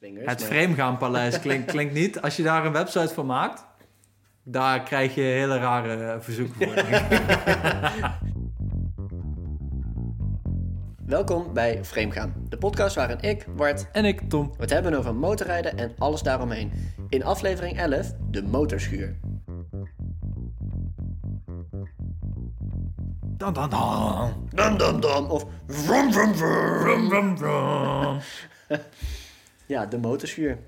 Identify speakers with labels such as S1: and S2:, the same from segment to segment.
S1: ding is.
S2: Het
S1: maar-
S2: Vreemdgaanpaleis klinkt, klinkt niet. Als je daar een website voor maakt, daar krijg je hele rare eh, verzoeken voor. denk ik.
S1: Welkom bij Framegaan, de podcast waarin ik, Bart,
S2: En ik, Tom.
S1: het hebben over motorrijden en alles daaromheen. In aflevering 11, de motorschuur.
S2: Dan, dan, dan.
S1: Dam dam dam, of vrom vrom vrom.
S2: Brum, brum, brum.
S1: Ja, de motorschuur.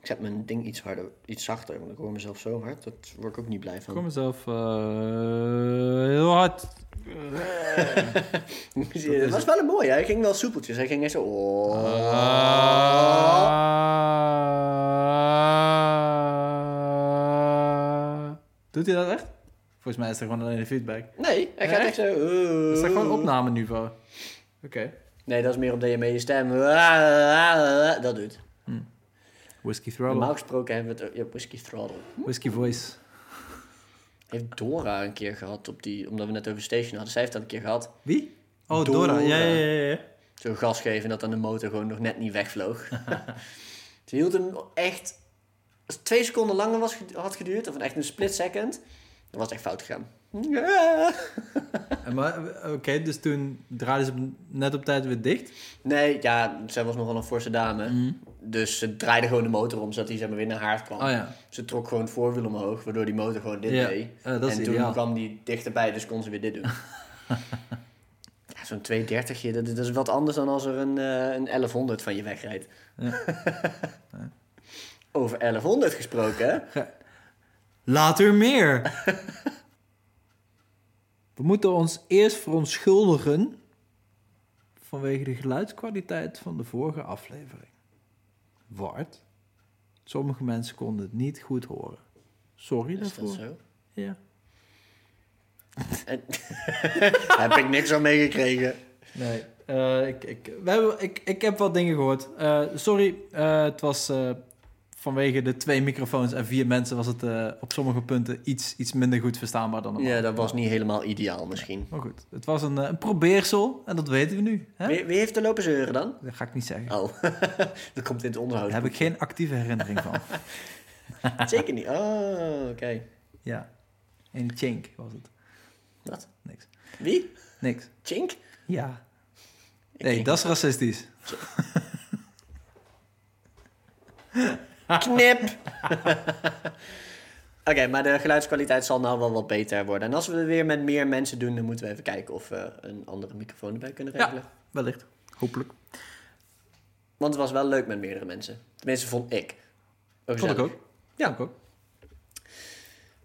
S1: Ik zet mijn ding iets harder, iets zachter, want ik hoor mezelf zo hard. Dat word ik ook niet blij
S2: Ik
S1: van.
S2: hoor mezelf eh, heel hard.
S1: Het was wel een mooie, hij ging wel soepeltjes. Hij ging echt zo... oh.
S2: Ah. Oh. Eh, Doet hij dat echt? Volgens mij is dat gewoon alleen de feedback.
S1: Nee, hij gaat
S2: Echt?
S1: echt zo... oh.
S2: Is dat gewoon opnameniveau? Oké.
S1: Nee, dat is meer op DME je stem. Dat doet.
S2: Whiskey Throttle.
S1: Normaal gesproken hebben we het... Ja, whisky throttle.
S2: Whiskey Voice.
S1: Heeft Dora een keer gehad op die... Omdat we net over station hadden. Zij heeft dat een keer gehad.
S2: Wie? Oh, Dora.
S1: Dora.
S2: Ja, ja, ja, ja.
S1: Zo'n gas geven en dat dan de motor gewoon nog net niet wegvloog. Ze hield hem echt... Als het twee seconden langer was, ged- had geduurd, of echt een split second, dan was het echt fout gegaan.
S2: En Maar oké, dus toen draaiden ze hem net op tijd weer dicht.
S1: Nee, ja, zij was nogal een forse dame. Dus ze draaide gewoon de motor om, zodat hij zeg maar, weer naar haar kwam.
S2: Mhm. Oh ja.
S1: Ze trok gewoon het voorwiel omhoog, waardoor die motor gewoon dit
S2: Ja,
S1: deed.
S2: eh, dat is
S1: en toen
S2: ideaal.
S1: kwam die dichterbij, dus kon ze weer dit doen. ja, zo'n 230, dat, dat is wat anders dan als er een, eh, een 1100 van je wegrijdt. Over 1100 gesproken, hè?
S2: Later meer. We moeten ons eerst verontschuldigen vanwege de geluidskwaliteit van de vorige aflevering. Wart, sommige mensen konden het niet goed horen. Sorry
S1: Is dat
S2: daarvoor.
S1: zo?
S2: Ja.
S1: En- Heb ik niks aan meegekregen.
S2: Nee, eh, ik, ik, we hebben, ik, ik heb wat dingen gehoord. Eh, sorry, eh, het was eh, vanwege de twee microfoons en vier mensen was het eh, op sommige punten iets, iets minder goed verstaanbaar dan normaal.
S1: Ja, dat was niet helemaal ideaal misschien.
S2: Maar goed, het was een, eh, een probeersel en dat weten we nu. Hè?
S1: Wie, wie heeft er lopen zeuren dan?
S2: Dat ga ik niet zeggen.
S1: Oh, dat komt in het onderhoud.
S2: Daar heb ik geen actieve herinnering van.
S1: Zeker niet. Oh, oké.
S2: ja, in Chink was het.
S1: Wat?
S2: Niks.
S1: Wie?
S2: Niks.
S1: Chink?
S2: Ja.
S1: Ik
S2: Nee,
S1: denk-
S2: dat is racistisch.
S1: Knip! Oké, maar de geluidskwaliteit zal nou wel wat beter worden. En als we het weer met meer mensen doen, dan moeten we even kijken of we een andere microfoon erbij kunnen
S2: Ja.
S1: regelen.
S2: Wellicht. Hopelijk.
S1: Want het was wel leuk met meerdere mensen. Tenminste, vond ik. Ook
S2: Vond ik
S1: gezellig.
S2: ook. Ja, ik ook.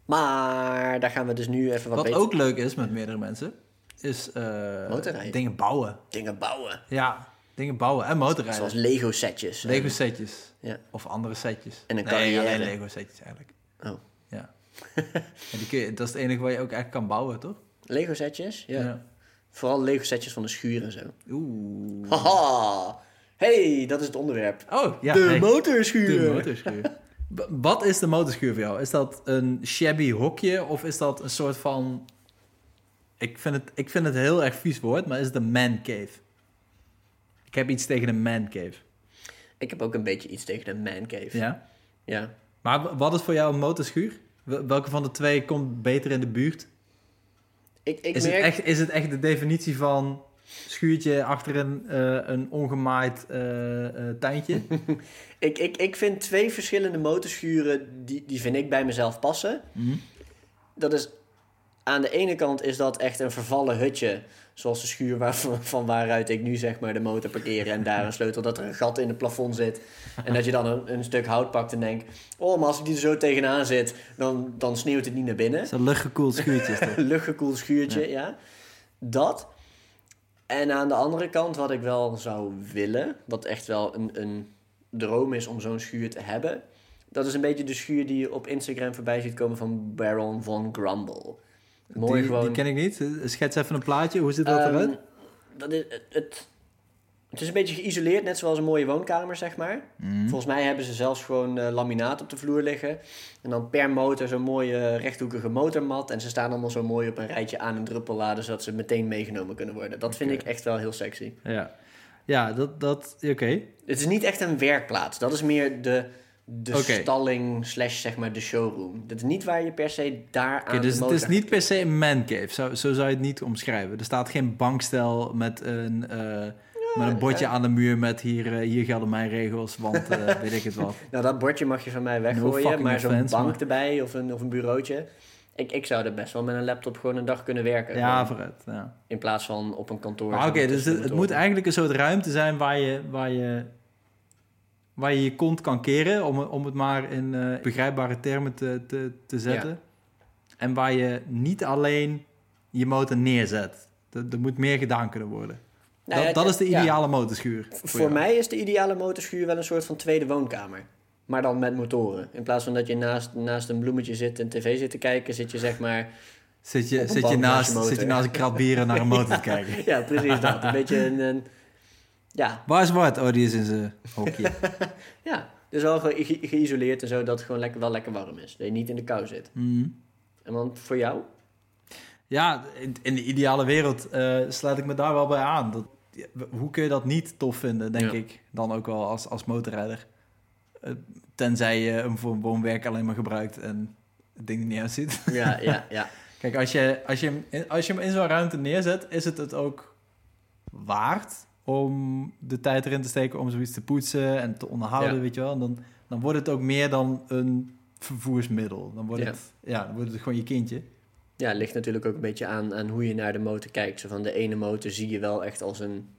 S1: Maar daar gaan we dus nu even wat,
S2: Wat
S1: beter
S2: ook leuk is met meerdere mensen, is eh,
S1: Motorrijden.
S2: dingen bouwen.
S1: dingen bouwen.
S2: Ja, dingen bouwen en motorrijden.
S1: Zoals Lego setjes.
S2: Lego setjes.
S1: Ja.
S2: Of andere setjes.
S1: En een
S2: Nee, alleen
S1: carrière.
S2: Lego setjes eigenlijk.
S1: Oh.
S2: Ja. en die kun je, dat is het enige waar je ook echt kan bouwen, toch?
S1: Lego setjes? Ja. Vooral Lego setjes van de schuur en zo.
S2: Oeh.
S1: Haha! Hey, dat is het onderwerp.
S2: Oh, ja.
S1: de
S2: hey,
S1: motorschuur.
S2: de motorschuur. B- Wat is de motorschuur voor jou? Is dat een shabby hokje of is dat een soort van... Ik vind het, ik vind het een heel erg vies woord, maar is het een man cave? Ik heb iets tegen een man cave.
S1: Ik heb ook een beetje iets tegen de man cave.
S2: Ja?
S1: ja.
S2: Maar w- wat is voor jou een motorschuur? W- Welke van de twee komt beter in de buurt?
S1: Ik, ik
S2: Is,
S1: merk...
S2: het, echt, is het echt de definitie van schuurtje achter een, eh, een ongemaaid eh, eh, tuintje?
S1: Ik, ik, ik vind twee verschillende motorschuren, die, die vind ik bij mezelf passen. Dat is, aan de ene kant is dat echt een vervallen hutje. Zoals de schuur waar, van waaruit ik nu zeg maar de motor parkeer en daar een sleutel dat er een gat in het plafond zit. En dat je dan een, een stuk hout pakt en denkt, oh maar als ik die er zo tegenaan zit, dan, dan sneeuwt het niet naar binnen.
S2: Zo'n luchtgekoeld schuurtje is dat.
S1: Een luchtgekoeld schuurtje, ja. Dat. En aan de andere kant, wat ik wel zou willen, wat echt wel een, een droom is om zo'n schuur te hebben. Dat is een beetje de schuur die je op Instagram voorbij ziet komen van Baron von Grumble. Mooi
S2: die,
S1: gewoon.
S2: die ken ik niet. Schets even een plaatje. Hoe ziet dat
S1: Ehm,
S2: eruit?
S1: dat is, het, het, het is een beetje geïsoleerd, net zoals een mooie woonkamer, zeg maar.
S2: Hm? Mm.
S1: Volgens mij hebben ze zelfs gewoon eh, laminaat op de vloer liggen. En dan per motor zo'n mooie rechthoekige motormat. En ze staan allemaal zo mooi op een rijtje aan een druppellader, zodat ze meteen meegenomen kunnen worden. Dat vind
S2: Oké.
S1: ik echt wel heel sexy.
S2: Ja. Ja, dat... dat Oké.
S1: Het is niet echt een werkplaats. Dat is meer de, de
S2: Oké.
S1: stalling slash zeg maar de showroom. Dat is niet waar je per se daar aan
S2: Oké, dus
S1: Ah, de
S2: het
S1: motor...
S2: is niet per se een mancave. Zo, zo zou je het niet omschrijven. Er staat geen bankstel met een, eh, met een bordje aan de muur met hier, eh, hier gelden mijn regels, want eh, weet ik het wat.
S1: Nou, dat bordje mag je van mij
S2: No
S1: weggooien,
S2: fucking
S1: maar zo'n
S2: offense,
S1: bank
S2: maar-
S1: erbij of een, of een bureautje. Ik, ik zou er best wel met een laptop gewoon een dag kunnen werken.
S2: Ja,
S1: Gewoon
S2: vooruit. Ja.
S1: In plaats van op een kantoor.
S2: Maar Oké, dus het, het moet
S1: eigenlijk.
S2: eigenlijk een soort ruimte zijn waar je waar je, waar je, je kont kan keren, om, om het maar in eh, begrijpbare termen te, te, te zetten. En waar je niet alleen je motor neerzet. Er er moet meer gedaan kunnen worden.
S1: Nou
S2: dat
S1: ja,
S2: dat is de
S1: ja.
S2: ideale motorschuur.
S1: Voor
S2: jou.
S1: mij is de ideale motorschuur wel een soort van tweede woonkamer. Maar dan met motoren. In plaats van dat je naast, naast een bloemetje zit en tv zit te kijken, zit je zeg maar...
S2: Zit
S1: Op
S2: je,
S1: een
S2: zit, je
S1: bank naast je
S2: naast,
S1: motor.
S2: zit je naast een krat bieren naar een motor te kijken.
S1: ja, precies dat. Een beetje een... een- ja,
S2: Waar is Bart? Oh, die is in zijn hokje.
S1: ja. Dus wel gewoon ge- geïsoleerd en zo, dat het gewoon lekker, wel lekker warm is. Dat je niet in de kou zit.
S2: Mhm.
S1: En want voor jou?
S2: Ja, in, in de ideale wereld eh, sluit ik me daar wel bij aan. Dat, ja, w- hoe kun je dat niet tof vinden, denk
S1: Ja.
S2: ik, dan ook wel als, als motorrijder? Eh, tenzij je hem voor woonwerk alleen maar gebruikt en het ding er niet uitziet.
S1: Ja, ja, ja.
S2: Kijk, als je, als, je hem in, als je hem in zo'n ruimte neerzet, is het het ook waard om de tijd erin te steken om zoiets te poetsen en te onderhouden,
S1: Ja.
S2: weet je wel. En dan, dan wordt het ook meer dan een vervoersmiddel. Dan wordt,
S1: Ja.
S2: Het, ja, dan wordt het gewoon je kindje.
S1: Ja, het ligt natuurlijk ook een beetje aan, aan hoe je naar de motor kijkt. Zo van de ene motor zie je wel echt als een...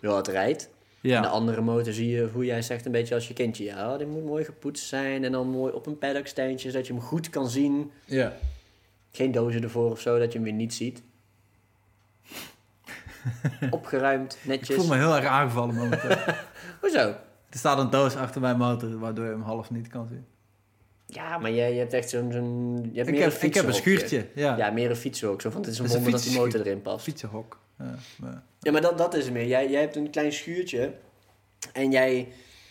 S1: Wel, het rijdt. En de
S2: Ja,
S1: andere motor zie je, hoe jij zegt, een beetje als je kindje. Ja, die moet mooi gepoetst zijn en dan mooi op een paddocksteentje, zodat je hem goed kan zien.
S2: ja.
S1: Geen dozen ervoor of zo, dat je hem weer niet ziet. Opgeruimd,
S2: ik voel
S1: netjes.
S2: me heel erg aangevallen momenteel.
S1: Hoezo?
S2: er staat een doos achter mijn motor, waardoor je hem half niet kan zien.
S1: Ja, maar jij je hebt echt zo'n... zo'n je hebt
S2: Ik
S1: meer
S2: heb,
S1: een
S2: ik heb een
S1: fietsenhokje.
S2: schuurtje, ja.
S1: Ja, meer een fietsenhok. Zo van, het is een
S2: Dat is een
S1: wonder dat die motor erin past.
S2: Fietsenhok. Ja, maar-
S1: Ja, maar dat, dat is het meer. Jij, jij hebt een klein schuurtje. En jij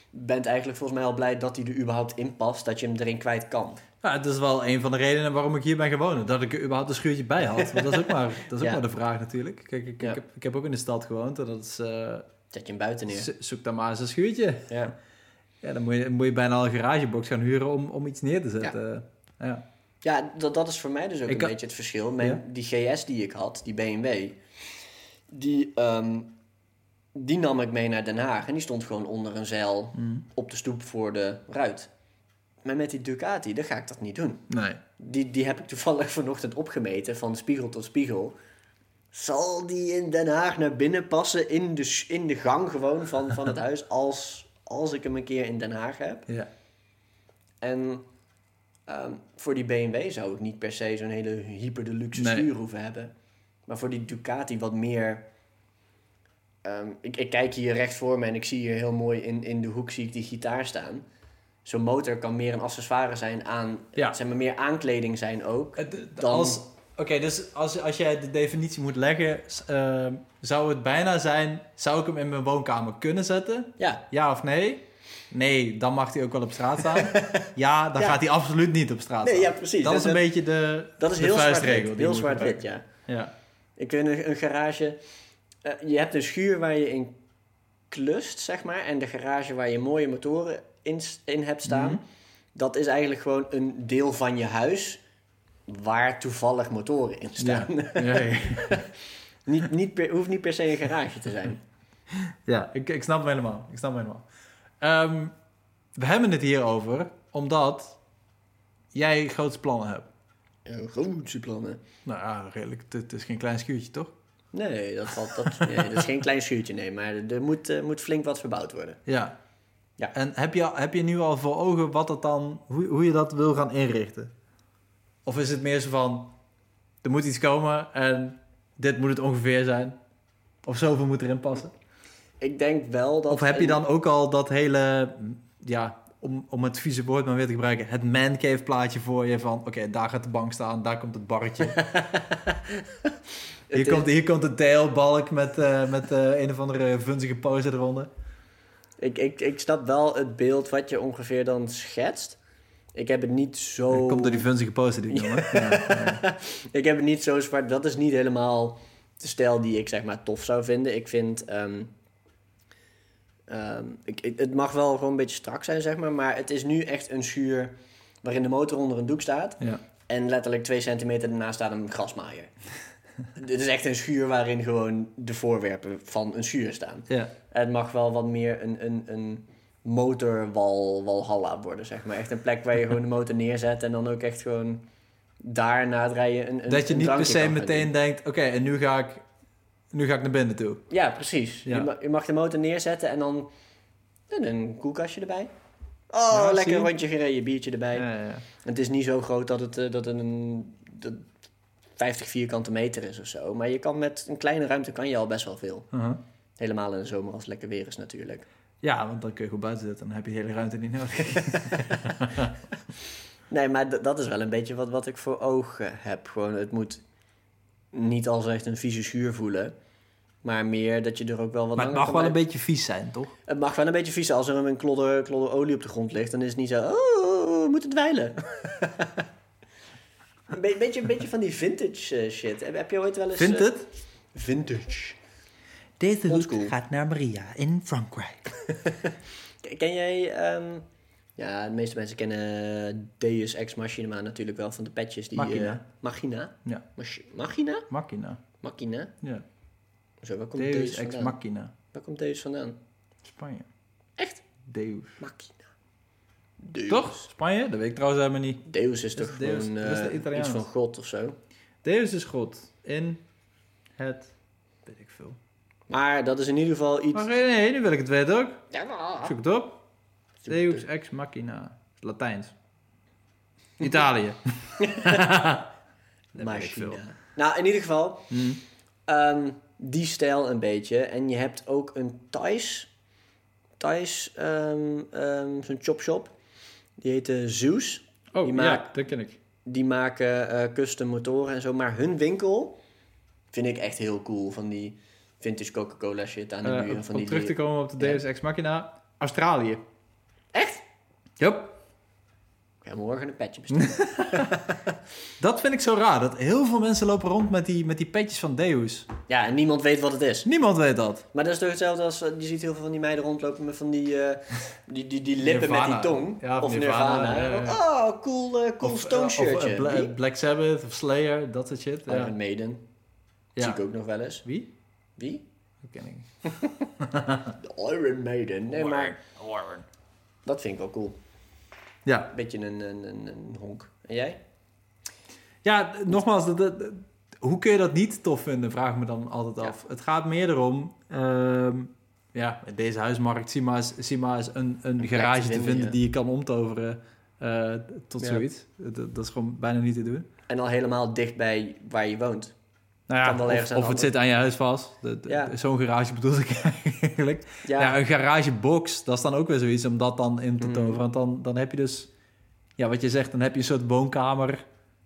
S1: bent eigenlijk volgens mij al blij dat hij er überhaupt in past. Dat je hem erin kwijt kan.
S2: Ja, het is wel een van de redenen waarom ik hier ben gewoond. Dat ik er überhaupt een schuurtje bij had. Want dat is ook maar, dat is ook
S1: Ja.
S2: maar de vraag natuurlijk. Kijk, ik,
S1: Ja.
S2: ik, heb, ik heb ook in de stad gewoond. En dat is, eh,
S1: Zet je hem buiten neer.
S2: zo- zoek dan maar eens een schuurtje.
S1: Ja.
S2: Ja, dan moet je, moet je bijna al een garagebox gaan huren om, om iets neer te zetten. Ja.
S1: Ja, dat, dat is voor mij dus ook
S2: Ik
S1: een
S2: kan-
S1: beetje het verschil. Mijn, Die GS die ik had, die BMW, die, ehm, die nam ik mee naar Den Haag. En die stond gewoon onder een zeil
S2: Mm.
S1: op de stoep voor de ruit. Maar met die Ducati, dan ga ik dat niet doen.
S2: Nee.
S1: Die, die heb ik toevallig vanochtend opgemeten, van spiegel tot spiegel. Zal die in Den Haag naar binnen passen, in de, s- in de gang gewoon van, van het huis, als, als ik hem een keer in Den Haag heb?
S2: Ja.
S1: En ehm, voor die BMW zou ik niet per se zo'n hele hyper deluxe
S2: Nee.
S1: stuur hoeven hebben. Maar voor die Ducati wat meer... ehm, ik, ik kijk hier recht voor me en ik zie hier heel mooi in, in de hoek zie ik die gitaar staan. Zo'n motor kan meer een accessoire zijn aan...
S2: Ja.
S1: Zeg maar meer aankleding zijn ook.
S2: Het- het-
S1: Dan-
S2: als- Oké, dus als, als jij de definitie moet leggen, s- ehm, zou het bijna zijn, zou ik hem in mijn woonkamer kunnen zetten?
S1: Ja,
S2: Ja of nee? Nee, dan mag hij ook wel op straat staan. ja, dan
S1: Ja.
S2: gaat hij absoluut niet op straat
S1: nee,
S2: staan.
S1: ja precies. Dus
S2: dat is een beetje de,
S1: dat is
S2: de
S1: heel
S2: vuistregel.
S1: zwart-wit.
S2: die
S1: Heel
S2: je moet
S1: zwart-wit,
S2: gebruiken.
S1: ja.
S2: Ja.
S1: Ik weet een, een garage. eh, je hebt een schuur waar je in klust, zeg maar. En de garage waar je mooie motoren in, s- in hebt staan.
S2: Mhm.
S1: Dat is eigenlijk gewoon een deel van je huis. Waar toevallig motoren in staan.
S2: Ja. Ja, ja.
S1: niet, niet per, hoeft niet per se een garage te zijn.
S2: Ja, ik, ik snap hem helemaal. Ik snap hem helemaal. Ehm, we hebben het hier over omdat jij grote plannen hebt.
S1: Grote plannen.
S2: Nou ja, redelijk. Het, het is geen klein schuurtje, toch?
S1: Nee, dat, valt, dat, nee, dat is geen klein schuurtje, nee. Maar er moet, eh, moet flink wat verbouwd worden.
S2: Ja.
S1: Ja.
S2: En heb je, heb je nu al voor ogen wat dat dan, hoe, hoe je dat wil gaan inrichten? Of is het meer zo van, er moet iets komen en dit moet het ongeveer zijn? Of zoveel moet erin passen?
S1: Ik denk wel dat...
S2: Of heb je
S1: een-
S2: dan ook al dat hele, ja, om, om het vieze woord maar weer te gebruiken, het mancave plaatje voor je van, oké, daar gaat de bank staan, daar komt het barretje.
S1: Het
S2: hier,
S1: is-
S2: komt, hier komt de deelbalk met, eh, met eh, een of andere vunzige pose eronder.
S1: Ik, ik, ik snap wel het beeld wat je ongeveer dan schetst. Ik heb het niet zo.
S2: Dat komt door die vunzige pose die ik noem, hè? Ja, ja.
S1: Ik heb het niet zo zwart. Dat is niet helemaal de stijl die ik zeg maar tof zou vinden. Ik vind ehm, Ehm, ik, ik- het mag wel gewoon een beetje strak zijn, zeg maar. Maar het is nu echt een schuur waarin de motor onder een doek staat.
S2: Ja.
S1: En letterlijk twee centimeter daarna staat een grasmaaier. Dit is echt een schuur waarin gewoon de voorwerpen van een schuur staan.
S2: ja.
S1: Het mag wel wat meer een, een, een motorwal walhalla worden, zeg maar. Echt een plek waar je gewoon de motor neerzet en dan ook echt gewoon daar na het rijden een, een
S2: dat je
S1: een
S2: niet per
S1: drankje
S2: se
S1: kan gaan
S2: meteen
S1: doen.
S2: denkt, oké, en nu ga, ik, nu ga ik naar binnen toe.
S1: Ja, precies.
S2: Ja.
S1: Je, ma- je mag de motor neerzetten en dan en een koelkastje erbij. Oh,
S2: Ja,
S1: lekker
S2: zie je?
S1: een rondje gereden, biertje erbij.
S2: Ja, ja.
S1: Het is niet zo groot dat het, eh, dat het een dat 50 vierkante meter is of zo. Maar je kan met een kleine ruimte kan je al best wel veel.
S2: Uh-huh.
S1: Helemaal in de zomer als het lekker weer is natuurlijk.
S2: Ja, want dan kun je goed buiten zitten. Dan heb je de hele ruimte niet nodig.
S1: Nee, maar d- dat is wel een beetje wat, wat ik voor ogen heb. Gewoon, het moet niet als echt een vieze schuur voelen. Maar meer dat je er ook wel wat
S2: maar
S1: langer
S2: het mag
S1: kan
S2: wel een
S1: bij-
S2: beetje vies zijn, toch?
S1: Het mag wel een beetje vies zijn. Als er een klodder, klodder olie op de grond ligt, dan is het niet zo... Oh, oh, oh, we moeten dweilen. een, be- beetje, een beetje van die vintage eh, shit. Heb, heb je ooit wel eens...
S2: Vindt
S1: eh,
S2: het?
S1: Vintage.
S2: Deze
S1: route Oldschool.
S2: gaat naar Maria in Frankrijk.
S1: K- Ken jij... ehm, ja, de meeste mensen kennen eh, Deus Ex Machina natuurlijk wel van de patches. Die,
S2: Machina.
S1: eh, Machina?
S2: Ja.
S1: Mach- Machina?
S2: Machina.
S1: Machina?
S2: Ja.
S1: Zo, waar komt Deus,
S2: Deus ex
S1: vandaan?
S2: machina.
S1: waar komt Deus vandaan?
S2: Spanje.
S1: Echt?
S2: Deus.
S1: Machina. Deus.
S2: Toch? Spanje? Dat weet ik trouwens helemaal niet.
S1: Deus is toch
S2: Is Deus-
S1: gewoon
S2: dat is de
S1: eh,
S2: Italiaans.
S1: iets van God of zo?
S2: Deus is God. In het... Weet ik veel.
S1: Maar dat is in ieder geval iets... Ah.
S2: Maar nee, nee, nu wil ik het weten ook.
S1: Ja,
S2: Ik
S1: maar-
S2: Zoek het op. Deus ex machina. Latijns. Italië. Dat weet ik veel.
S1: Machina. Nou, in ieder geval,
S2: Hm.
S1: ehm, die stijl een beetje. En je hebt ook een Thais. Thais, ehm, ehm, zo'n chop shop. Die heet eh, Zeus.
S2: Oh,
S1: Die
S2: ja,
S1: maakt-
S2: dat ken ik.
S1: Die maken eh, custom motoren en zo. Maar hun winkel vind ik echt heel cool. Van die vintage Coca-Cola shit aan de
S2: Eh,
S1: muren.
S2: om
S1: van
S2: om
S1: die
S2: terug te komen op de Deus ex machina. Australië.
S1: Echt?
S2: Yup.
S1: Ik ga morgen een petje
S2: Hmm.
S1: bestellen.
S2: Dat vind ik zo raar. Dat heel veel mensen lopen rond met die, met die petjes van Deus.
S1: ja, en niemand weet wat het is.
S2: Niemand weet dat.
S1: Maar dat is toch hetzelfde als... eh, Je ziet heel veel van die meiden rondlopen met van die, eh, die, die, die lippen
S2: Nirvana.
S1: met die tong.
S2: Ja, of
S1: of
S2: Nirvana,
S1: Nirvana.
S2: ja, ja.
S1: Oh, cool, eh, cool
S2: eh,
S1: Stone
S2: Of
S1: shirtje.
S2: eh, Bla-
S1: Wie? Oh,
S2: Black Sabbath of Slayer, dat soort shit. Ja.
S1: Iron Maiden.
S2: Ja.
S1: Zie ik ook nog wel eens.
S2: Wie?
S1: Wie?
S2: Dat ken ik niet.
S1: De Iron Maiden. Nee, maar
S2: Warren.
S1: dat vind ik wel cool.
S2: Ja,
S1: Beetje een, een, een, een honk. En jij?
S2: ja d- nogmaals, dat, dat- dat- hoe kun je dat niet tof vinden, vraag ik me dan altijd
S1: Ja.
S2: af. Het gaat meer erom, ehm, ja, in deze huismarkt, zie maar eens, zie maar eens een, een
S1: plek
S2: garage
S1: te
S2: te
S1: vinden,
S2: vinden
S1: ja.
S2: die je kan omtoveren eh, tot
S1: Ja.
S2: zoiets. Dat, dat is gewoon bijna niet te doen.
S1: En al helemaal dicht bij waar je woont.
S2: Nou ja,
S1: Kan wel
S2: of-
S1: ergens
S2: of,
S1: aan
S2: het
S1: hangen.
S2: zit aan je huis vast. Dat- dat-
S1: Ja.
S2: Zo'n garage bedoel ik eigenlijk.
S1: Ja,
S2: Ja, een garagebox, dat is dan ook weer zoiets om dat dan in te
S1: Mm.
S2: toveren. Want dan, dan heb je dus, ja, wat je zegt, dan heb je een soort woonkamer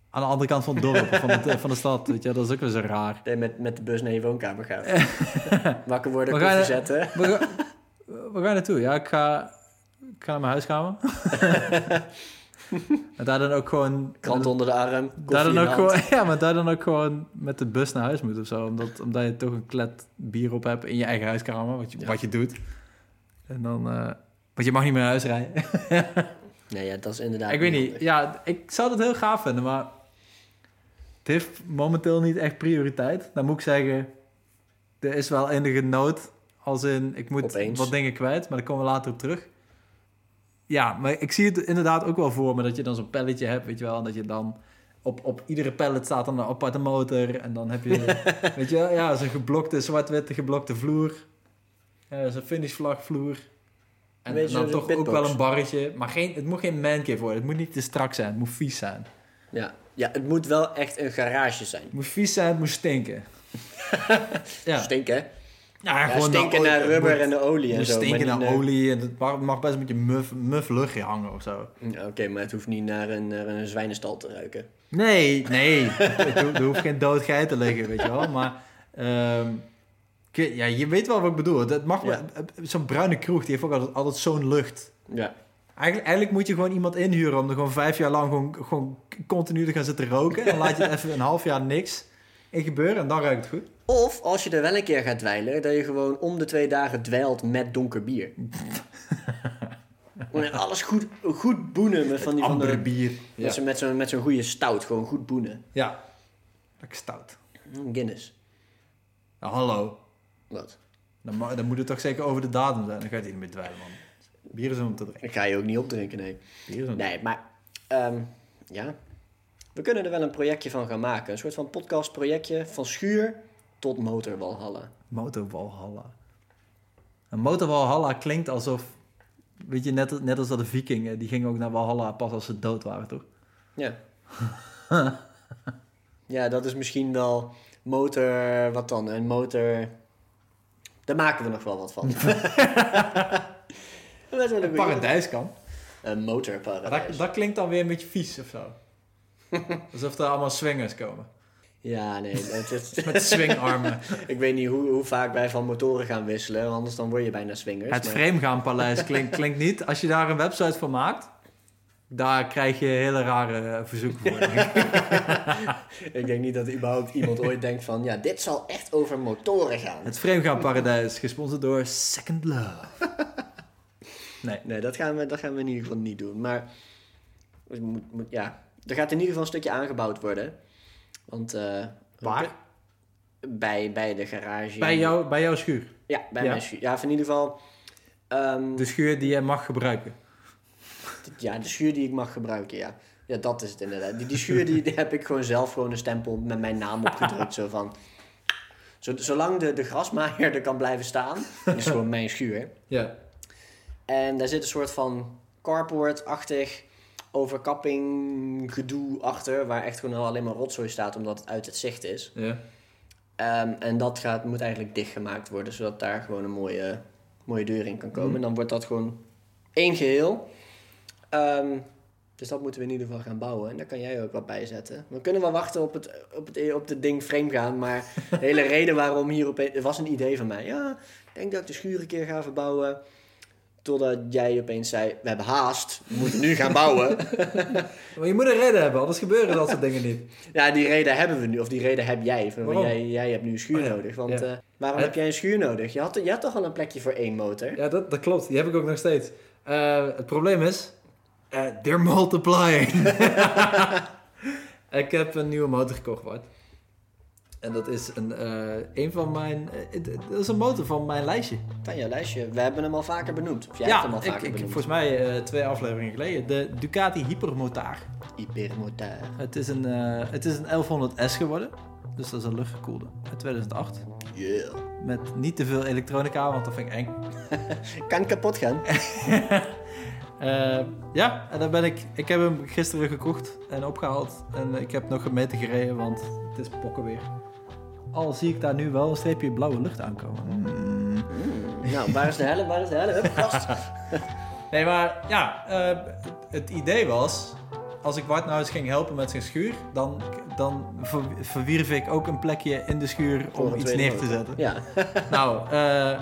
S2: aan de andere kant van het dorp, of van, het, van de stad. Weet je, dat is ook weer zo raar.
S1: nee, met, met de bus naar je woonkamer gaan. Wakker worden,
S2: We gaan-
S1: koffie zetten.
S2: We gaan, we gaan naartoe, ja. Ik ga, ik ga naar mijn huiskamer. en daar dan ook gewoon...
S1: Krant onder de arm,
S2: daar
S1: koffie in
S2: dan
S1: de
S2: ook
S1: hand.
S2: gewoon, ja, maar daar dan ook gewoon met de bus naar huis moet of zo. Omdat, omdat je toch een klet bier op hebt in je eigen huiskamer, wat je,
S1: Ja.
S2: wat je doet. En dan... eh, want je mag niet meer naar huis rijden.
S1: Nee, ja, dat is inderdaad
S2: ik weet niet.
S1: handig.
S2: Ja, ik zou dat heel gaaf vinden, maar het heeft momenteel niet echt prioriteit. Dan moet ik zeggen, er is wel enige nood. Als in, ik moet
S1: Opeens.
S2: wat dingen kwijt, maar daar komen we later op terug. Ja, maar ik zie het inderdaad ook wel voor me dat je dan zo'n palletje hebt, weet je wel. En dat je dan op, op iedere pallet staat dan een aparte motor. En dan heb je, weet je wel, ja, zo'n geblokte, zwart-witte geblokte vloer. Eh, zo'n finishvlag vloer. En
S1: Een beetje
S2: dan
S1: zo'n
S2: toch ook
S1: pitbox.
S2: wel een barretje. Maar geen, het moet geen mancave worden. Het moet niet te strak zijn. Het moet vies zijn.
S1: Ja. ja, het moet wel echt een garage zijn.
S2: Het moet vies zijn. Het moet stinken. ja.
S1: Stinken, hè?
S2: Ja,
S1: Ja,
S2: de
S1: stinken
S2: olie-
S1: naar
S2: het
S1: rubber
S2: moet-
S1: en de olie
S2: het
S1: en
S2: moet
S1: zo. maar
S2: stinken
S1: niet
S2: naar
S1: naar-
S2: olie. En het mag, mag best een beetje muf, muf luchtje hangen of zo.
S1: Ja, eh, mm, Oké, maar het hoeft niet naar een, naar een zwijnenstal te ruiken.
S2: Nee, nee. er, hoeft- er hoeft geen dood geit te liggen, weet je wel. Maar ehm, ik weet- ja, je weet wel wat ik bedoel. Het mag wel- Zo'n bruine kroeg, die heeft ook altijd, altijd zo'n lucht.
S1: Ja,
S2: Eigenlijk, eigenlijk moet je gewoon iemand inhuren om er gewoon vijf jaar lang gewoon, gewoon continu te gaan zitten roken. Dan laat je het even een half jaar niks. in gebeuren en dan ruikt het goed.
S1: Of als je er wel een keer gaat dweilen, dat je gewoon om de twee dagen dweilt met donker bier. Gewoon Alles goed, goed boenen met van die van
S2: Amber
S1: de,
S2: bier. Ja.
S1: met zo'n met zo'n- met zo'n goede stout, gewoon goed boenen.
S2: ja. Lekker stout.
S1: Mm, Guinness.
S2: Nou, hallo.
S1: Wat?
S2: Dan, ma- dan moet het toch zeker over de datum zijn. Dan ga je het niet meer dweilen, man. Bier is om te drinken.
S1: Ik ga je ook niet opdrinken, nee.
S2: Bier is om
S1: Nee, maar ehm, ja. We kunnen er wel een projectje van gaan maken. Een soort van podcastprojectje van schuur tot motorwalhalla.
S2: Motorwalhalla. Een motorwalhalla klinkt alsof... Weet je, net, net als dat de vikingen, die gingen ook naar Walhalla pas als ze dood waren, toch?
S1: Ja. ja, dat is misschien wel motor. Wat dan? Een motor. Daar maken we nog wel wat van. Dat is wel een goeie.
S2: Paradijs kan.
S1: Een motorparadijs.
S2: Dat, dat klinkt dan weer een beetje vies of zo. Alsof er allemaal swingers komen.
S1: Ja, nee. dat is-
S2: Met swingarmen.
S1: ik weet niet hoe, hoe vaak wij van motoren gaan wisselen, anders dan word je bijna swingers.
S2: Het
S1: maar-
S2: Vreemgaanpaleis klinkt, klinkt niet. Als je daar een website voor maakt, daar krijg je hele rare eh, verzoeken voor. denk ik.
S1: Ik denk niet dat überhaupt iemand ooit denkt van, ja, dit zal echt over motoren gaan.
S2: Het Vreemgaanparadijs, gesponsord door Second Love. Nee.
S1: Nee, dat gaan we, dat gaan we in ieder geval niet doen. Maar het moet, moet, ja, er gaat in ieder geval een stukje aangebouwd worden. Want eh,
S2: Waar?
S1: bij, bij de garage.
S2: Bij, jou, bij jouw schuur.
S1: Ja, bij
S2: Ja.
S1: mijn schuur. Ja, of in ieder geval. ehm,
S2: De schuur die jij mag gebruiken.
S1: d- ja, de schuur die ik mag gebruiken, ja. Ja, dat is het inderdaad. Die, die schuur die, die heb ik gewoon zelf gewoon een stempel met mijn naam opgedrukt. zo van. Zo- Zolang de, de grasmaaier er kan blijven staan, is gewoon mijn schuur.
S2: Ja.
S1: En daar zit een soort van carport-achtig overkapping gedoe achter, waar echt gewoon alleen maar rotzooi staat omdat het uit het zicht is.
S2: ja.
S1: Ehm, en dat gaat, moet eigenlijk dichtgemaakt worden, zodat daar gewoon een mooie, mooie deur in kan komen. En dan wordt dat gewoon één geheel. Ehm, dus dat moeten we in ieder geval gaan bouwen. En daar kan jij ook wat bij zetten. We kunnen wel wachten op het, op het, op het ding frame gaan. Maar de hele reden waarom hier opeens... Het was een idee van mij. Ja, ik denk dat ik de schuur een keer ga verbouwen. Totdat jij opeens zei, we hebben haast. We moeten nu gaan bouwen.
S2: Maar je moet een reden hebben, anders gebeuren dat soort dingen niet.
S1: Ja, die reden hebben we nu. Of die reden heb jij. Van,
S2: Waarom?
S1: Jij, jij hebt nu een schuur
S2: Oh ja,
S1: nodig. Want
S2: ja.
S1: eh, waarom
S2: Eh,
S1: heb jij een schuur nodig? Je had, je had toch al een plekje voor één motor?
S2: Ja, dat, dat klopt. Die heb ik ook nog steeds. Eh, het probleem is, eh they're multiplying. ik heb een nieuwe motor gekocht, Bart. En dat is een, eh, een van mijn... eh, het- het- dat is een motor van mijn lijstje.
S1: Van jouw lijstje. We hebben hem al vaker benoemd. Of jij hebt hem al
S2: ja, ik,
S1: vaker
S2: ik,
S1: benoemd.
S2: volgens mij eh, twee afleveringen geleden. De Ducati Hypermotaar.
S1: Hypermotor.
S2: Het is een, eh, het is een 1100S geworden. Dus dat is een luchtgekoelde. Uit 2008.
S1: Yeah.
S2: Met niet te veel elektronica, want dat vind ik eng.
S1: Kan kapot gaan.
S2: Eh, ja, en dan ben ik. Ik heb hem gisteren gekocht en opgehaald. En ik heb nog gemeten gereden, want het is pokken weer. Al zie ik daar nu wel een streepje blauwe lucht aankomen. Hmm.
S1: Mm. Nou, waar is de helm? Waar is de helm? Hup, gast.
S2: Nee, maar ja, eh, het idee was. Als ik Bart nou eens ging helpen met zijn schuur, dan, dan ver- verwierf ik ook een plekje in de schuur
S1: Voor
S2: om
S1: een
S2: iets
S1: tweede
S2: neer te
S1: motor.
S2: zetten.
S1: Ja.
S2: Nou, eh,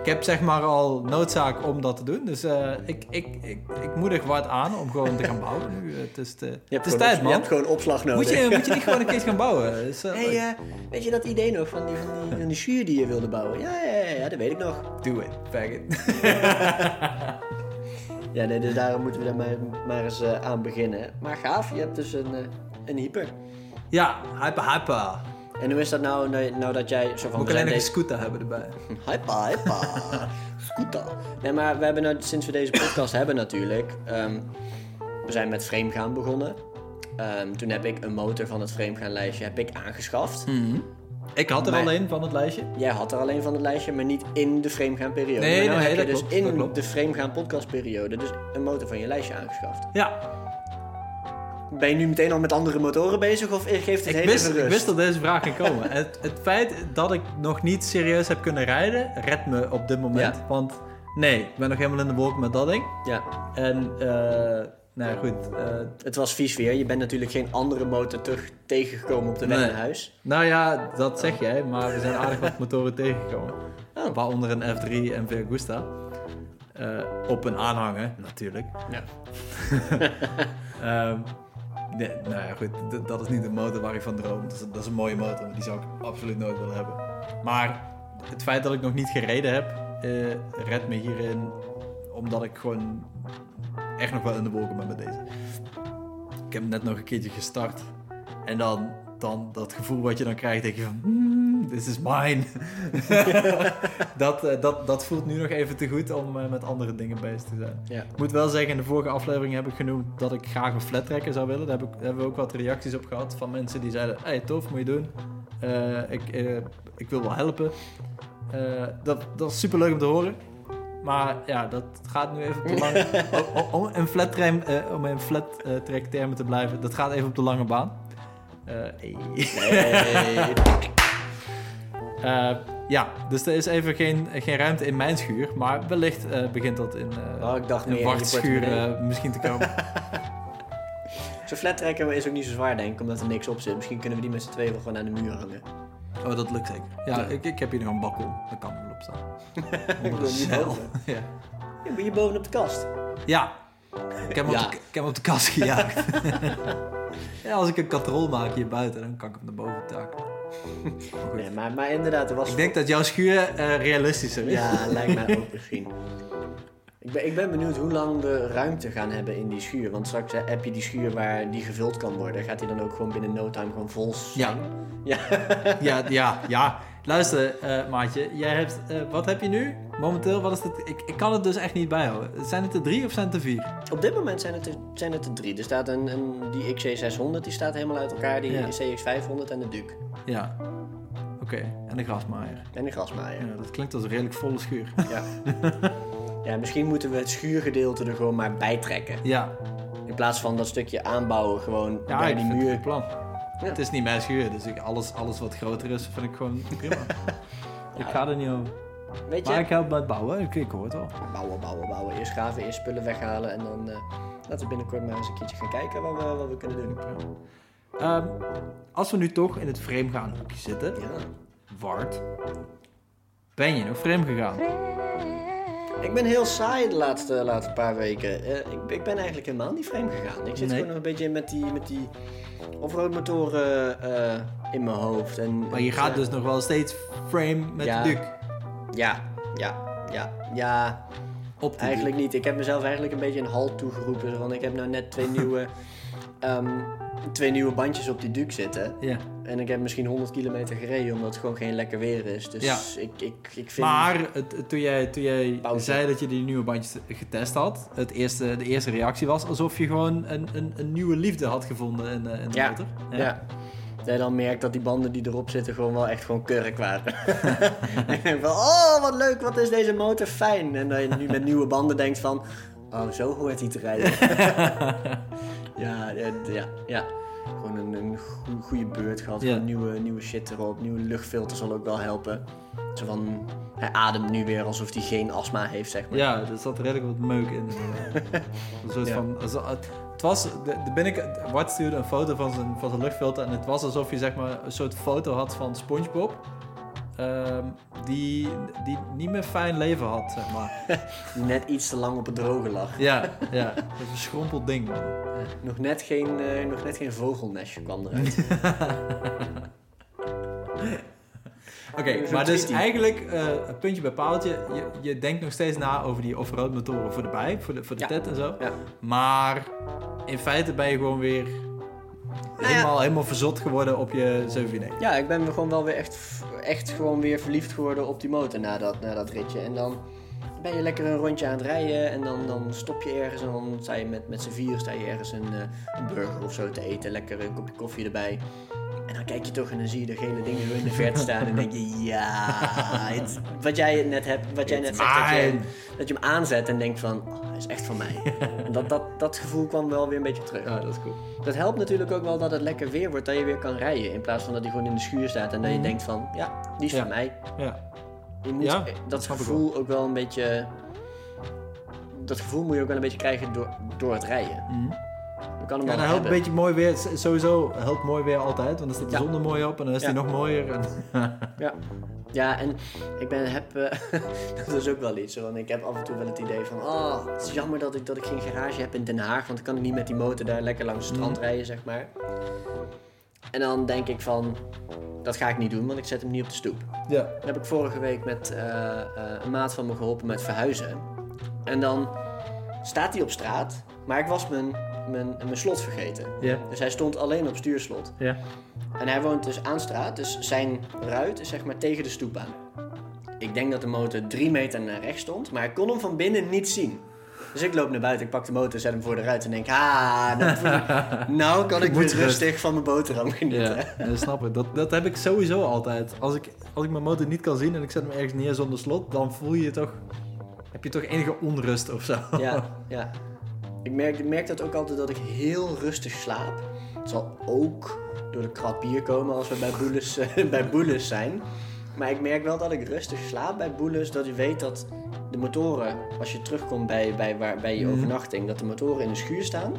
S2: ik heb zeg maar al noodzaak om dat te doen. Dus eh, ik, ik, ik, ik moedig Bart aan om gewoon te gaan bouwen nu. Het is, te,
S1: Je
S2: het
S1: hebt,
S2: is
S1: gewoon,
S2: tijd,
S1: op- je
S2: man.
S1: hebt gewoon opslag nodig.
S2: Moet je, moet je niet gewoon een keer gaan bouwen? Dus, eh,
S1: Hey, eh, weet je dat idee nog van die, van, die, van die schuur die je wilde bouwen? Ja, ja, ja, ja, dat weet ik nog.
S2: Do it, faggot.
S1: Ja, nee, dus daarom moeten we daar maar, maar eens eh, aan beginnen. Maar gaaf, je hebt dus een, eh, een hyper.
S2: Ja, hypa hypa.
S1: En hoe is dat nou, nou, nou dat jij zo van...
S2: Ook
S1: we
S2: alleen
S1: zijn
S2: nog een
S1: deze-
S2: scooter hebben erbij.
S1: Hypa, hypa. Scooter. Nee, maar we hebben nou, sinds we deze podcast hebben natuurlijk... ehm, we zijn met frame gaan begonnen. Ehm, toen heb ik een motor van het frame gaan lijstje heb ik aangeschaft.
S2: Hmm. Ik had er
S1: Mijn-
S2: al een van het lijstje.
S1: Jij had er alleen van het lijstje, maar niet in de frame gaan periode.
S2: Nee,
S1: Maar nou
S2: nee,
S1: heb
S2: dat
S1: je dus
S2: klopt, dat
S1: in
S2: klopt.
S1: de frame gaan podcast periode dus een motor van je lijstje aangeschaft.
S2: Ja,
S1: Ben je nu meteen al met andere motoren bezig of geeft het
S2: ik
S1: hele
S2: wist, ik
S1: rust?
S2: wist dat deze vraag ging komen. het, het feit dat ik nog niet serieus heb kunnen rijden, redt me op dit moment.
S1: Ja.
S2: Want nee, ik ben nog helemaal in de wolken met dat ding.
S1: Ja,
S2: En, eh nou ja, goed. eh,
S1: het was vies weer. Je bent natuurlijk geen andere motor terug tegengekomen op de weg
S2: Nee.
S1: naar huis.
S2: nou ja, dat zeg jij, maar we zijn aardig wat motoren tegengekomen.
S1: Oh.
S2: Waaronder een F3 en Vergusta. Eh op een aanhanger, natuurlijk.
S1: Ja.
S2: Ehm, Nee, nou ja, goed. d- dat is niet de motor waar ik van droom. Dat is, dat is een mooie motor, maar die zou ik absoluut nooit willen hebben. Maar het feit dat ik nog niet gereden heb, eh redt me hierin. Omdat ik gewoon echt nog wel in de wolken ben met deze. Ik heb hem net nog een keertje gestart. En dan, dan dat gevoel wat je dan krijgt, denk je van... "Hmm, This is mine. dat, eh, dat, dat voelt nu nog even te goed om eh, met andere dingen bezig te zijn.
S1: Ja.
S2: Ik moet wel zeggen, in de vorige aflevering heb ik genoemd dat ik graag een flat tracker zou willen. Daar, heb ik, daar hebben we ook wat reacties op gehad van mensen die zeiden: hey, tof, moet je doen. Eh, ik, eh, ik wil wel helpen. Eh, dat, dat is super leuk om te horen. Maar ja, dat gaat nu even op de lange... o- o- om, in flat tram- eh, om in flat eh, track termen te blijven, dat gaat even op de lange baan. Eh, hey.
S1: Nee.
S2: Eh, ja, dus er is even geen, geen ruimte in mijn schuur. Maar wellicht eh, begint dat in, eh
S1: Oh, ik dacht
S2: in
S1: meer in je
S2: wachtschuur
S1: portemonnee.
S2: eh, misschien te komen.
S1: Zo'n flat tracker is ook niet zo zwaar, denk ik, omdat er niks op zit. Misschien kunnen we die met z'n tweeën wel gewoon aan de muur hangen.
S2: Oh, dat lukt zeker. Ja,
S1: Ja.
S2: Ik, ik heb hier nog een bakkel. Daar kan ik wel op staan.
S1: Ik wil niet boven.
S2: ja.
S1: Ja, ben je boven op de kast?
S2: ja. Ik heb hem
S1: Ja.
S2: op de, ik heb hem op de kast gejaagd. ja, als ik een katrol maak hier buiten, dan kan ik hem naar boven takelen. Maar goed.
S1: Nee, maar, maar inderdaad, er was...
S2: Ik denk dat jouw schuur eh, realistischer is.
S1: Ja, lijkt mij ook misschien. Ik ben, ik ben benieuwd hoe lang we ruimte gaan hebben in die schuur. Want straks hè, heb je die schuur waar die gevuld kan worden. Gaat die dan ook gewoon binnen no time gewoon vol
S2: Ja.
S1: zijn?
S2: Ja, ja, ja. Luister, eh, maatje. Jij hebt, eh, wat heb je nu? Momenteel, wat is het? Ik, ik kan het dus echt niet bijhouden. Zijn het er drie of zijn het er vier?
S1: Op dit moment zijn het er, zijn het er drie. Er staat een, een, die XC600, die staat helemaal uit elkaar. Die
S2: Ja.
S1: CX500 en de Duke.
S2: Ja. Oké, en de grasmaaier.
S1: En de grasmaaier.
S2: Ja, dat klinkt als een redelijk volle schuur.
S1: Ja. ja, misschien moeten we het schuurgedeelte er gewoon maar bij trekken.
S2: Ja,
S1: In plaats van dat stukje aanbouwen gewoon
S2: ja
S1: bij
S2: ik
S1: die
S2: vind het een
S1: muur.
S2: goed plan. Het is niet mijn schuur, dus ik, alles, alles wat groter is, vind ik gewoon prima. Ik ga er niet over.
S1: Weet je,
S2: Maar ik help bij het bouwen, ik, ik hoor het al.
S1: bouwen, bouwen, bouwen. Eerst graven, eerst spullen weghalen. En dan eh, laten we binnenkort maar eens een keertje gaan kijken wat we, wat we kunnen doen.
S2: Ehm, als we nu toch in het frame gaan hoekje zitten,
S1: Ja.
S2: Wart, ben je nog frame gegaan?
S1: Ik ben heel saai de laatste, laatste paar weken. Eh, ik, ik ben eigenlijk helemaal niet vreemd gegaan. Ik zit
S2: Nee.
S1: gewoon nog een beetje met die, met die offroadmotoren eh, in mijn hoofd. En, eh,
S2: Maar je gaat dus nog wel steeds frame met
S1: Ja.
S2: de Duke.
S1: Ja, ja, ja, ja.
S2: Op de
S1: Eigenlijk niet. Ik heb mezelf eigenlijk een beetje een halt toegeroepen. Want ik heb nou net twee nieuwe, ehm, twee nieuwe bandjes op die Duke zitten.
S2: Duke. Ja.
S1: En ik heb misschien 100 kilometer gereden omdat het gewoon geen lekker weer is. Dus
S2: Ja.
S1: ik, ik, ik vind...
S2: Maar het, het- toen jij, toen jij
S1: Pauze.
S2: zei dat je die nieuwe bandjes getest had, het eerste, de eerste reactie was alsof je gewoon een, een, een nieuwe liefde had gevonden in, eh, in de
S1: Ja.
S2: motor.
S1: Ja. Dat je dan merkt dat die banden die erop zitten gewoon wel echt gewoon kurk waren. en ik denk van, oh wat leuk, wat is deze motor fijn. En dat je nu met nieuwe banden denkt van, oh zo hoort hij te rijden. ja, ja, ja, ja. Gewoon een, een goe- goede beurt gehad.
S2: Ja.
S1: Gewoon Nieuwe, nieuwe shit erop. Nieuwe luchtfilter zal ook wel helpen. Zo van, hij ademt nu weer alsof hij geen astma heeft, zeg maar.
S2: Ja, er zat redelijk wat meuk in. eh, een soort
S1: Ja.
S2: van, alsof- het was, de, de binnenkant, Bart stuurde een foto van zijn, van zijn luchtfilter en het was alsof je zeg maar een soort foto had van Spongebob. ehm, die, die niet meer fijn leven had, zeg maar.
S1: Die net iets te lang op het droge lag.
S2: Ja, ja. Een verschrompeld ding, man.
S1: Nog net geen, eh, nog net geen vogelnestje kwam eruit.
S2: Oké,
S1: Zo'n
S2: maar dus
S1: tweetie.
S2: eigenlijk, eh, een puntje bij paaltje, je, je denkt nog steeds na over die off-road motoren voor de bij, voor de, voor de
S1: Ja.
S2: tet en zo.
S1: Ja.
S2: Maar in feite ben je gewoon weer
S1: Nou
S2: helemaal, helemaal verzot geworden op je 749.
S1: Ja, ik ben gewoon wel weer echt, echt gewoon weer verliefd geworden op die motor na dat, na dat ritje. En dan ben je lekker een rondje aan het rijden en dan, dan stop je ergens en dan sta je met, met z'n vier sta je ergens een, eh, een burger of zo te eten. Lekker een kopje koffie erbij. En dan kijk je toch en dan zie je de gele dingen zo in de verte staan en denk je, ja, het- wat jij net, hebt, wat jij net
S2: It's
S1: zegt, dat je,
S2: mine.
S1: dat je hem aanzet en denkt van, oh, hij is echt van mij. En Dat, dat, dat gevoel kwam wel weer een beetje terug.
S2: Ja, dat is cool.
S1: Dat helpt natuurlijk ook wel dat het lekker weer wordt, dat je weer kan rijden. In plaats van dat hij gewoon in de schuur staat en dat je denkt van, ja, die is van
S2: Mhm. Ja.
S1: mij.
S2: Ja.
S1: Je moet
S2: Ja,
S1: eh, dat
S2: dat snap ik
S1: gevoel ook wel een beetje... Dat gevoel moet je ook wel een beetje krijgen door, door het rijden.
S2: Mhm.
S1: We kan hem
S2: Ja,
S1: al
S2: dat helpt een
S1: hebben.
S2: beetje mooi weer. S- Sowieso helpt mooi weer altijd, want dan staat de
S1: Ja.
S2: zon er mooi op en dan is
S1: Ja.
S2: die nog mooier. En...
S1: Ja. ja, en ik ben, heb... eh, dat is ook wel iets, hoor, want ik heb af en toe wel het idee van... Oh, het is jammer dat ik, dat ik geen garage heb in Den Haag... want dan kan ik niet met die motor daar lekker langs
S2: Mhm.
S1: het strand rijden, zeg maar. En dan denk ik van... Dat ga ik niet doen, want ik zet hem niet op de stoep.
S2: Ja.
S1: Dan heb ik vorige week met eh, eh, een maat van me geholpen met verhuizen. En dan staat hij op straat, maar ik was mijn, mijn, mijn slot vergeten.
S2: Ja.
S1: Dus hij stond alleen op stuurslot.
S2: Ja.
S1: En hij woont dus aan straat, dus zijn ruit is zeg maar tegen de stoep aan. Ik denk dat de motor drie meter naar rechts stond, maar ik kon hem van binnen niet zien. Dus ik loop naar buiten, ik pak de motor, zet hem voor de ruit en denk... Ah, nou, nou kan ik
S2: Moet
S1: weer
S2: terug.
S1: rustig van mijn boterham genieten.
S2: Ja, dat snap ik. Dat, dat heb ik sowieso altijd. Als ik, als ik mijn motor niet kan zien en ik zet hem ergens neer zonder slot, dan voel je toch... Heb je toch enige onrust of zo?
S1: Ja, ja. Ik merk, ik merk dat ook altijd dat ik heel rustig slaap. Het zal ook door de krat bier komen als we bij Boelus, eh, bij Boelus zijn. Maar ik merk wel dat ik rustig slaap bij Boelus. Dat je weet dat de motoren, als je terugkomt bij, bij, waar, bij je
S2: Mhm.
S1: overnachting, dat de motoren in de schuur staan.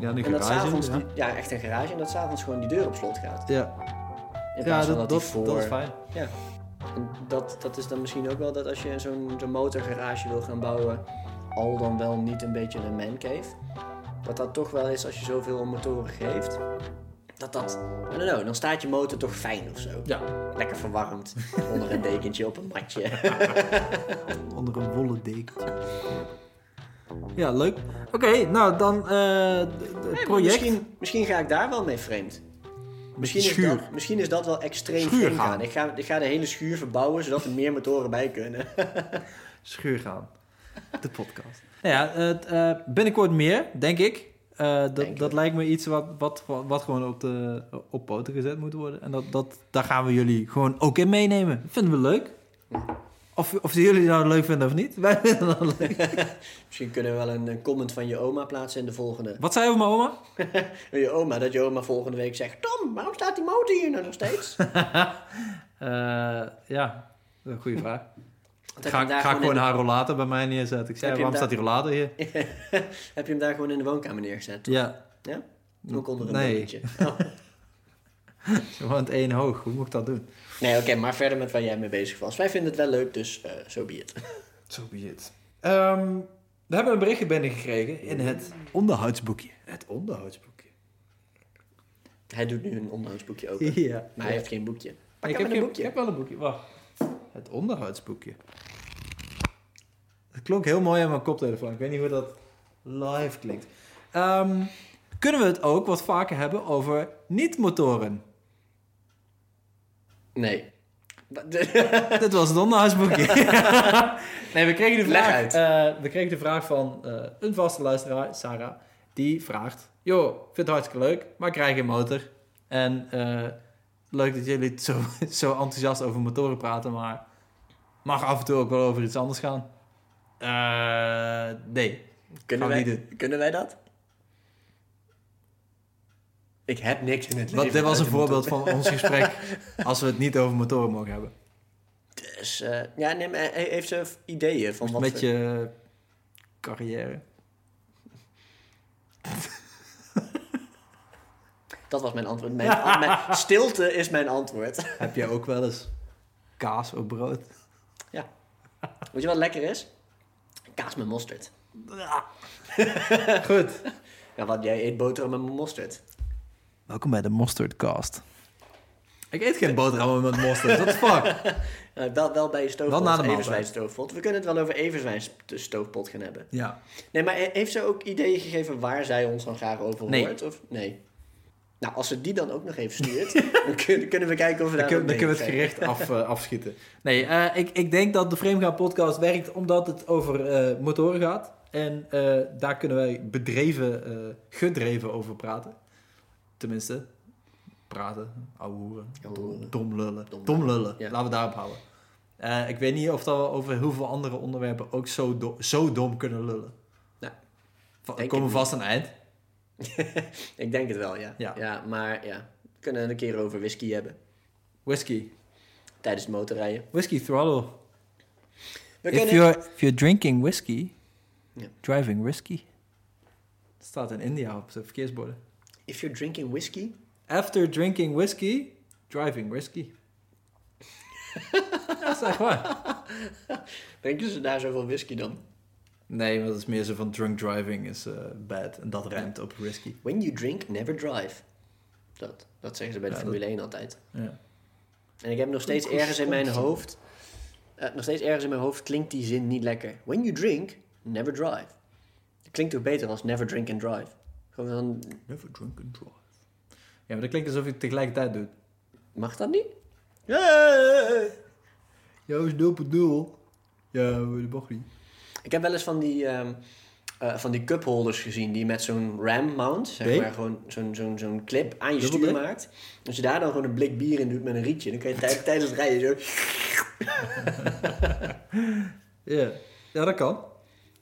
S2: Ja, nu
S1: en dat s'avonds,
S2: Ja,
S1: ja. ja echt een garage, en dat s'avonds gewoon die deur op slot gaat.
S2: ja.
S1: In
S2: ja
S1: plaats
S2: dat,
S1: van
S2: dat,
S1: dat, die voor...
S2: dat is fijn.
S1: Ja. En dat, dat is dan misschien ook wel dat als je zo'n zo'n motorgarage wil gaan bouwen, al dan wel niet een beetje een mancave. Dat dat toch wel is als je zoveel om motoren geeft. Dat dat, I don't know, dan staat je motor toch fijn of zo.
S2: Ja.
S1: Lekker verwarmd, onder een dekentje op een matje.
S2: Onder een wollen dekentje. Ja, leuk. Oké, nou dan eh het project.
S1: Misschien, misschien ga ik daar wel mee vreemd. Misschien is,
S2: schuur.
S1: dat, misschien is dat wel extreem
S2: Schuur
S1: vreemd
S2: gaan.
S1: gaan. Ik ga, ik ga de hele schuur verbouwen zodat er meer motoren bij kunnen.
S2: Schuur gaan. De podcast. Nou ja, het, eh, binnenkort meer, denk ik. Eh, dat,
S1: Denk
S2: dat lijkt me iets wat, wat, wat gewoon op, de, op poten gezet moet worden. En dat, dat, daar gaan we jullie gewoon ook in meenemen. Vinden we leuk. Of, of jullie dat leuk vinden of niet. Wij vinden dat leuk.
S1: Misschien kunnen we wel een, een comment van je oma plaatsen in de volgende.
S2: Wat zei je over mijn oma?
S1: En je oma, dat je oma volgende week zegt... Tom, waarom staat die motor hier nou nog steeds?
S2: Eh, ja, dat is een goede vraag.
S1: Want heb je
S2: Ga,
S1: hem daar
S2: ga ik gewoon
S1: in
S2: haar rollator bij mij neerzetten. Ik zei,
S1: Heb je
S2: waarom
S1: hem
S2: staat die rollator hier?
S1: de- heb je hem daar gewoon in de woonkamer neergezet?
S2: Ja,
S1: Ja? Ook onder een
S2: Nee.
S1: dekentje. Oh.
S2: want één hoog. Hoe moet ik dat doen?
S1: Nee, oké, maar verder met waar jij mee bezig was. Wij vinden het wel leuk, dus eh zo be it.
S2: Zo be it. Ehm, we hebben een berichtje binnengekregen in het onderhoudsboekje. Het onderhoudsboekje.
S1: Hij doet nu een onderhoudsboekje open. Maar
S2: Ja.
S1: hij heeft geen boekje. Pak
S2: ik,
S1: hem
S2: heb
S1: met een
S2: geen-
S1: boekje.
S2: ik heb wel een boekje. Wacht. Het onderhoudsboekje. Het klonk heel mooi aan mijn koptelefoon. Ik weet niet hoe dat live klinkt. Ehm, kunnen we het ook wat vaker hebben over niet-motoren?
S1: Nee.
S2: Dit was het onderhoudsboekje. nee, we kregen de
S1: Leg uit.
S2: vraag, eh, we kregen de vraag van eh, een vaste luisteraar, Sarah. Die vraagt, joh, vind het hartstikke leuk, maar ik krijg geen motor. En eh, leuk dat jullie het zo, zo enthousiast over motoren praten, maar mag af en toe ook wel over iets anders gaan. Eh, nee.
S1: kunnen,
S2: Gaan we
S1: wij,
S2: niet
S1: kunnen wij dat? Ik heb niks in het leven.
S2: Wat, dit was een
S1: buiten motor.
S2: voorbeeld van ons gesprek als we het niet over motoren mogen hebben.
S1: Dus, eh, ja, nee, maar he- heeft ze ideeën van wat...
S2: Met
S1: we-
S2: je carrière.
S1: Dat was mijn antwoord. Mijn, mijn stilte is mijn antwoord.
S2: Heb jij ook wel eens kaas op brood?
S1: Weet je wat lekker is? Kaas met mosterd.
S2: Goed.
S1: Ja, want jij eet boterham met mosterd.
S2: Welkom bij de Mosterdcast. Ik eet geen boterhammen met mosterd. What the fuck?
S1: Eh, wel, wel bij je stoofpot,
S2: Wel na de maaltijd.
S1: Everswijn stoofpot. We kunnen het wel over Everswijn st- stoofpot gaan hebben.
S2: Ja.
S1: Nee, maar he- heeft ze ook ideeën gegeven waar zij ons dan graag over
S2: Nee.
S1: hoort? Of? Nee. Nou, als ze die dan ook nog even stuurt, dan kun- kunnen we kijken of we
S2: Dan,
S1: daar
S2: kun-
S1: wat
S2: dan kunnen we
S1: mee
S2: het
S1: krijgen.
S2: gericht af, eh, afschieten. Nee, eh, ik, ik denk dat de Framegaan podcast werkt omdat het over eh, motoren gaat. En eh, daar kunnen wij bedreven, eh, gedreven over praten. Tenminste, praten, ouwe hoeren,
S1: Ouwe hoeren.
S2: dom lullen.
S1: Dom
S2: Dom lullen,
S1: ja.
S2: laten we daarop houden. Eh, ik weet niet of dat we over heel veel andere onderwerpen ook zo, do- zo dom kunnen lullen.
S1: Nou,
S2: Va-
S1: denk
S2: komen
S1: ik
S2: we vast aan het eind.
S1: Ik denk het wel, ja. ja.
S2: Ja.
S1: maar ja, we kunnen het een keer over whisky hebben.
S2: Whisky.
S1: Tijdens het motorrijden.
S2: Whisky throttle.
S1: We kunnen...
S2: you're, if you're drinking whisky,
S1: Ja.
S2: driving whisky. Dat staat in India op de verkeersborden.
S1: If you're drinking whiskey,
S2: After drinking whiskey, driving whiskey. dat is echt waar.
S1: drinken ze daar zoveel whisky dan?
S2: Nee, want dat is meer zo van drunk driving is eh, bad. En dat rijmt op risky.
S1: When you drink, never drive. Dat, dat zeggen ze bij de
S2: Ja,
S1: Formule 1 altijd.
S2: Ja.
S1: En ik heb nog steeds ergens in mijn hoofd... eh, nog steeds ergens in mijn hoofd klinkt die zin niet lekker. When you drink, never drive. Dat klinkt toch beter als never drink and drive? Gewoon dan...
S2: Never drunk and drive. Ja, maar dat klinkt alsof je het tegelijkertijd doet.
S1: Mag dat niet?
S2: Ja, is 0 op 0. Ja, dat mag niet.
S1: Ik heb wel eens van die, ehm eh, van die cupholders gezien die met zo'n ram mount, zeg
S2: Nee.
S1: maar gewoon zo'n zo'n zo'n clip aan je
S2: Dubbel
S1: stuur
S2: D?
S1: maakt. Als je daar dan gewoon een blik bier in doet met een rietje, dan kan je tij- tijdens het rijden zo...
S2: Ja. ja, dat kan.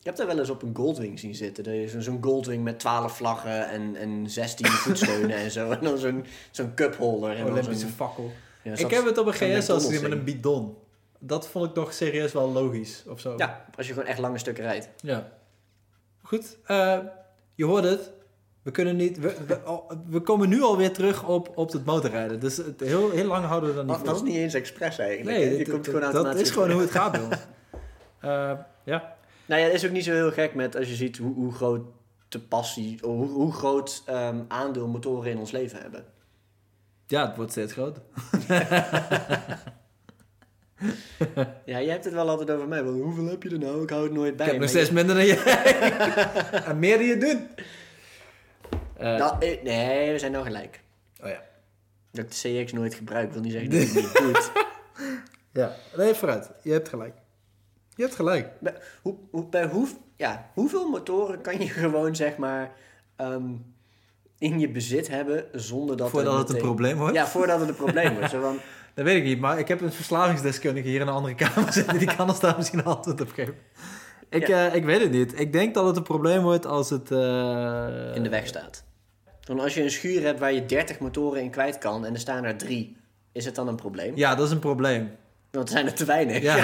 S1: Ik heb daar wel eens op een Goldwing zien zitten. Er is een- zo'n Goldwing met 12 vlaggen en, en 16 voetsteunen en zo. En dan zo'n zo'n cupholder. En dan
S2: Olympische
S1: zo'n,
S2: fakkel.
S1: ja,
S2: ik heb het op een
S1: zo'n
S2: GS als
S1: McDonald's
S2: met een bidon. Dat vond ik toch serieus wel logisch of zo.
S1: Ja, als je gewoon echt lange stukken rijdt.
S2: Ja. Goed, eh, je hoort het. We kunnen niet. We, we, oh, we komen nu alweer terug op, op het motorrijden. Dus het heel, heel lang houden we dat niet
S1: Dat, dat is
S2: vast.
S1: niet eens expres eigenlijk.
S2: Nee,
S1: hè? je
S2: dit-
S1: komt
S2: dit-
S1: gewoon
S2: dat
S1: automatisch.
S2: is gewoon hoe het gaat bij ons. Eh, ja.
S1: Nou ja, het is ook niet zo heel gek met als je ziet hoe, hoe groot de passie, hoe, hoe groot ehm, aandeel motoren in ons leven hebben.
S2: ja, het wordt steeds groter.
S1: Ja, je hebt het wel altijd over mij. Want hoeveel heb je er nou? Ik hou het nooit bij.
S2: ik heb nog
S1: maar
S2: steeds minder dan jij. en meer dan je doet.
S1: je-
S2: Eh,
S1: Nou, eh, nee, we zijn nou gelijk.
S2: oh ja.
S1: Dat ik de CX nooit gebruik, wil niet zeggen dat ik het niet doet.
S2: ja. Nee, vooruit. Je hebt gelijk. Je hebt gelijk.
S1: Bij, hoe, hoe, bij hoe, ja, hoeveel motoren kan je gewoon, zeg maar, ehm, in je bezit hebben zonder dat...
S2: Voordat het een
S1: meteen-
S2: probleem wordt.
S1: Ja, voordat het een probleem wordt. Zo van,
S2: Dat weet ik niet, maar ik heb een verslavingsdeskundige hier in een andere kamer zitten. Die kan ons daar misschien een antwoord op geven. Ik, eh, ik weet het niet. Ik denk dat het een probleem wordt als het... eh,
S1: in de weg staat. Want als je een schuur hebt waar je 30 motoren in kwijt kan en er staan er drie, is het dan een probleem?
S2: Ja, dat is een probleem.
S1: Want er zijn er te weinig.
S2: Ja.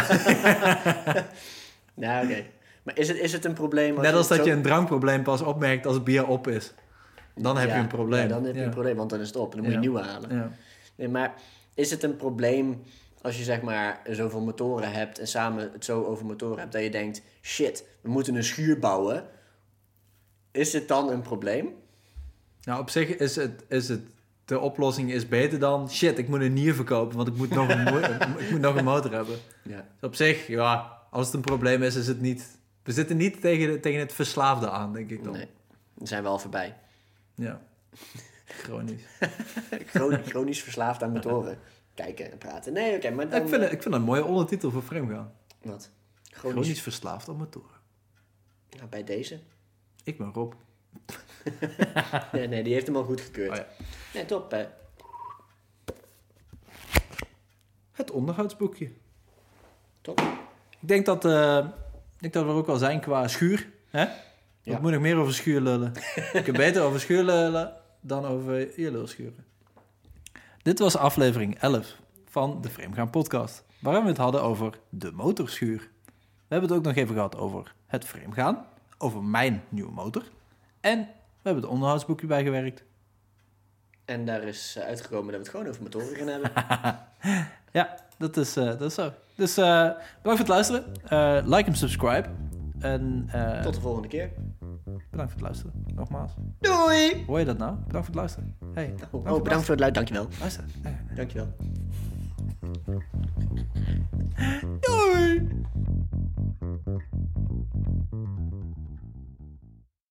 S1: Ja, oké. Maar is het, is het een probleem?
S2: Net als
S1: het
S2: dat je
S1: zo-
S2: een drankprobleem pas opmerkt als het bier op is. Dan heb
S1: Ja,
S2: je een probleem.
S1: ja, dan heb je
S2: Ja.
S1: een probleem, want dan is het op en dan moet je
S2: Ja.
S1: nieuwe halen.
S2: Ja.
S1: Nee, maar is het een probleem als je zeg maar zoveel motoren hebt en samen het zo over motoren hebt dat je denkt: shit, we moeten een schuur bouwen? Is het dan een probleem?
S2: Nou, op zich is het, is het... De oplossing is beter dan... Shit, ik moet een nier verkopen, want ik moet nog een, mo- ik moet nog een motor hebben.
S1: Ja.
S2: Dus op zich, ja, als het een probleem is, is het niet... We zitten niet tegen, de- tegen het verslaafde aan, denk ik dan.
S1: Nee, dan zijn we al voorbij.
S2: Ja. Chronisch.
S1: Chron- Chronisch verslaafd aan motoren. Kijken en praten. Nee, oké, maar dan...
S2: ik, vind, het- ik vind dat een mooie ondertitel voor Frame gaan.
S1: Wat? Chronisch...
S2: Chronisch verslaafd aan motoren.
S1: Nou, bij deze.
S2: Ik ben Rob.
S1: Nee, nee, die heeft hem al goed gekeurd.
S2: Oh ja.
S1: Nee, top. eh, Hè.
S2: Het onderhoudsboekje.
S1: Top.
S2: Ik denk dat, eh, ik denk dat we er ook al zijn qua schuur. Hè?
S1: Ja.
S2: Ik moet nog meer over schuur lullen. ik kan beter over schuur lullen dan over je lul schuren. Dit was aflevering 11 van de Frame Gaan podcast. Waarin we het hadden over de motorschuur. We hebben het ook nog even gehad over het frame gaan. Over mijn nieuwe motor. En we hebben het onderhoudsboekje bijgewerkt.
S1: En daar is eh, uitgekomen dat we het gewoon over motoren gaan hebben.
S2: Dat is, eh, dat is zo. Dus eh, bedankt voor het luisteren. Eh, like en subscribe. En eh,
S1: Tot de volgende keer.
S2: bedankt voor het luisteren. Nogmaals.
S1: Doei!
S2: Hoor je dat nou? Bedankt voor het luisteren. Hey, Nou, bedankt voor
S1: Oh,
S2: het
S1: oh, bedankt voor het luid. Dankjewel.
S2: luisteren. Luisteren.
S1: Dankjewel.
S2: Doei!